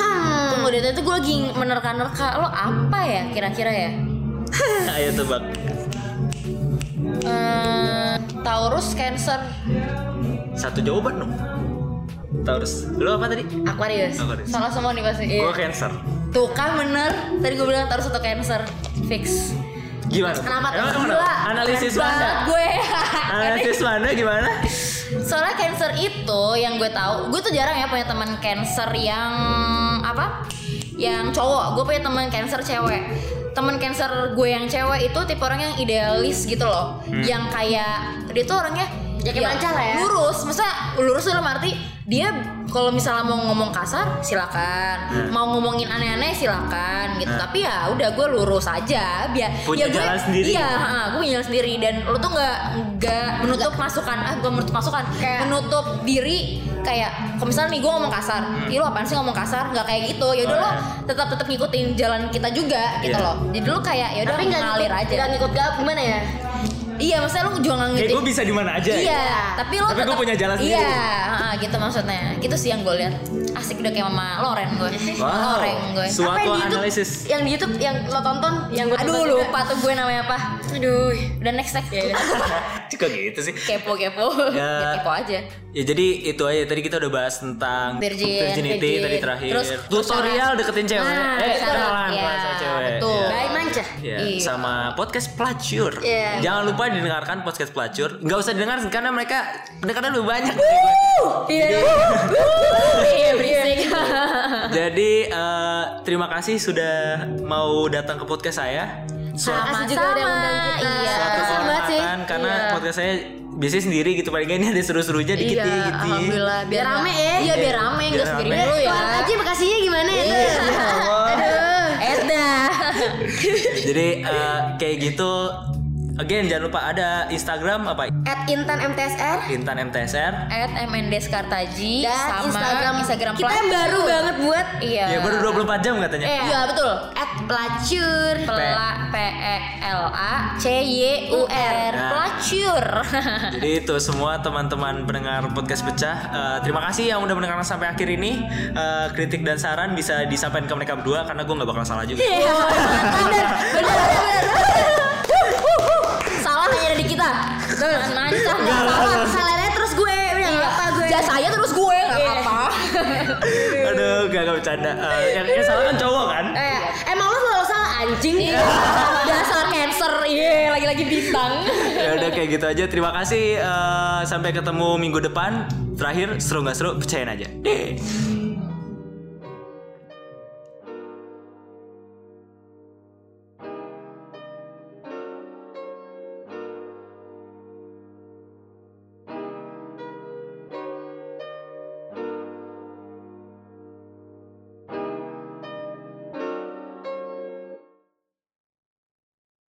[SPEAKER 3] Hmm
[SPEAKER 2] Tunggu deh, itu gue lagi menerka-nerka lo apa ya kira-kira ya?
[SPEAKER 1] Nah, Ayo tebak.
[SPEAKER 2] Eh, Taurus, Cancer,
[SPEAKER 1] Satu jawaban dong. Taurus. Lu apa tadi?
[SPEAKER 3] Aquarius
[SPEAKER 1] Aquarius.
[SPEAKER 2] salah semua nih pasti.
[SPEAKER 1] Gue Cancer.
[SPEAKER 2] Tuh kan bener. Tadi gue bilang Taurus atau Cancer, fix.
[SPEAKER 1] Gimana?
[SPEAKER 3] Kenapa
[SPEAKER 1] Emang
[SPEAKER 3] tuh?
[SPEAKER 1] gimana?
[SPEAKER 3] Gila.
[SPEAKER 1] Analisis
[SPEAKER 2] Keren
[SPEAKER 1] mana?
[SPEAKER 2] banget gue. (laughs)
[SPEAKER 1] Analisis mana gimana?
[SPEAKER 2] Soalnya cancer itu yang gue tahu, gue tuh jarang ya punya teman cancer yang apa? Yang cowok. Gue punya teman cancer cewek. Teman cancer gue yang cewek itu tipe orang yang idealis gitu loh.
[SPEAKER 1] Hmm.
[SPEAKER 2] Yang kayak dia tuh orangnya
[SPEAKER 3] Ya kayak manca lah ya.
[SPEAKER 2] Lurus, maksudnya lurus dalam arti dia kalau misalnya mau ngomong kasar silakan, mau ngomongin aneh-aneh silakan gitu.
[SPEAKER 1] Hmm.
[SPEAKER 2] Tapi ya udah gue lurus aja biar ya
[SPEAKER 1] Punya
[SPEAKER 2] gue-
[SPEAKER 1] jalan sendiri.
[SPEAKER 2] Iya, ah, gue punya jalan sendiri dan lo tuh nggak nggak menutup masukan, ah gue menutup masukan,
[SPEAKER 3] Kayak-
[SPEAKER 2] menutup diri kayak kalau misalnya nih gue ngomong kasar, ih lo apaan sih ngomong kasar? Nggak kayak gitu, ya udah
[SPEAKER 1] Hmm. Oh,
[SPEAKER 2] lo
[SPEAKER 1] iya.
[SPEAKER 2] tetap tetap ngikutin jalan kita juga gitu
[SPEAKER 1] Iya.
[SPEAKER 2] loh. Jadi lo kayak ya udah
[SPEAKER 3] Tapi nggak
[SPEAKER 2] ngalir
[SPEAKER 3] ngikut-
[SPEAKER 2] aja.
[SPEAKER 3] nggak ngikut gap gimana ya?
[SPEAKER 2] Iya, maksudnya lo juga nggak
[SPEAKER 1] Kayak
[SPEAKER 2] ngikutin.
[SPEAKER 1] gue Eh, bisa di mana aja. ya?
[SPEAKER 2] Iya, tapi lo
[SPEAKER 1] Tapi gue
[SPEAKER 2] tetap-
[SPEAKER 1] punya jalan sendiri.
[SPEAKER 2] Iya, ah, gitu maksudnya. Gitu sih yang gue lihat. Asik udah kayak mama Loren gue.
[SPEAKER 1] Wow.
[SPEAKER 2] Loren gue.
[SPEAKER 1] Suatu
[SPEAKER 3] Apa yang di YouTube?
[SPEAKER 1] analisis.
[SPEAKER 3] Yang di YouTube yang lo tonton Yang gue tonton
[SPEAKER 2] Aduh
[SPEAKER 3] juga.
[SPEAKER 2] lupa tuh gue namanya apa.
[SPEAKER 3] Aduh
[SPEAKER 2] Udah next next.
[SPEAKER 3] Ya, udah.
[SPEAKER 1] Juga gitu sih.
[SPEAKER 2] (laughs) kepo kepo
[SPEAKER 1] Ya.
[SPEAKER 2] ya. kepo aja
[SPEAKER 1] Ya jadi itu aja tadi kita udah bahas tentang
[SPEAKER 2] Virgin,
[SPEAKER 1] virginity
[SPEAKER 2] virgin.
[SPEAKER 1] tadi terakhir.
[SPEAKER 2] Terus-
[SPEAKER 1] tutorial deketin cewek.
[SPEAKER 2] Nah,
[SPEAKER 1] eh
[SPEAKER 2] salah.
[SPEAKER 1] kenalan
[SPEAKER 2] Iya,
[SPEAKER 1] sama cewek.
[SPEAKER 2] betul.
[SPEAKER 1] Iya.
[SPEAKER 3] Baik, Manja. Pecah.
[SPEAKER 1] Ya,
[SPEAKER 2] Iya.
[SPEAKER 1] sama podcast pelacur.
[SPEAKER 3] Iya.
[SPEAKER 1] Jangan lupa didengarkan podcast pelacur. Nggak usah didengar karena mereka pendengarnya lebih
[SPEAKER 2] (laughs)
[SPEAKER 1] banyak.
[SPEAKER 3] Iya. Iya, berisik.
[SPEAKER 1] Jadi eh, terima kasih sudah mau datang ke podcast saya. Suatu
[SPEAKER 3] Makasih juga udah undang
[SPEAKER 2] Iya.
[SPEAKER 3] kita.
[SPEAKER 1] suatu
[SPEAKER 3] Makasih banget sih.
[SPEAKER 1] kehormatan karena
[SPEAKER 3] Iya.
[SPEAKER 1] podcast saya biasanya sendiri gitu paling nggak ini ada seru-serunya dikit
[SPEAKER 2] Iya,
[SPEAKER 1] dikit.
[SPEAKER 2] alhamdulillah biar
[SPEAKER 3] Biar rame ya.
[SPEAKER 2] Iya, biar rame
[SPEAKER 1] Biar
[SPEAKER 2] enggak sendiri
[SPEAKER 1] rame.
[SPEAKER 2] dulu ya.
[SPEAKER 3] Tuhan aja makasihnya gimana ya? tuh?
[SPEAKER 2] Iya.
[SPEAKER 3] Aduh.
[SPEAKER 2] Eda.
[SPEAKER 1] Jadi eh, kayak gitu. Again jangan lupa ada Instagram apa
[SPEAKER 3] At Intan MTSR
[SPEAKER 1] Intan MTSR.
[SPEAKER 2] At MNDes Kartaji
[SPEAKER 3] dan
[SPEAKER 2] sama
[SPEAKER 3] Instagram
[SPEAKER 2] Instagram
[SPEAKER 3] kita yang
[SPEAKER 2] Pelacur.
[SPEAKER 3] baru banget buat Eh,
[SPEAKER 2] Iya.
[SPEAKER 1] Ya baru 24 jam katanya.
[SPEAKER 2] Iya, betul.
[SPEAKER 3] at pelacur.
[SPEAKER 2] Pela P E L A C Y U R.
[SPEAKER 1] Nah.
[SPEAKER 2] Pelacur.
[SPEAKER 1] Jadi itu semua teman-teman pendengar podcast pecah. Eh, terima kasih yang udah mendengarkan sampai akhir ini. Eh, kritik dan saran bisa disampaikan ke mereka berdua karena gue nggak bakal salah juga.
[SPEAKER 2] Iya. Benar, benar, benar. Salah hanya ada di kita. Jangan mancang.
[SPEAKER 3] Salah, salahnya terus gue udah nggak apa gue.
[SPEAKER 2] Jasa Iya. saya terus gue nggak
[SPEAKER 3] Iya.
[SPEAKER 2] apa-apa.
[SPEAKER 1] Aduh, gak, gak bercanda. Eh, yang, yang salah kan cowok kan?
[SPEAKER 3] Eh,
[SPEAKER 2] Iya.
[SPEAKER 3] emang lo selalu salah anjing.
[SPEAKER 2] Dasar cancer, iya lagi-lagi bintang.
[SPEAKER 1] Ya udah kayak gitu aja. Terima kasih. eh, sampai ketemu minggu depan. Terakhir seru nggak seru? Percayain aja. Deh.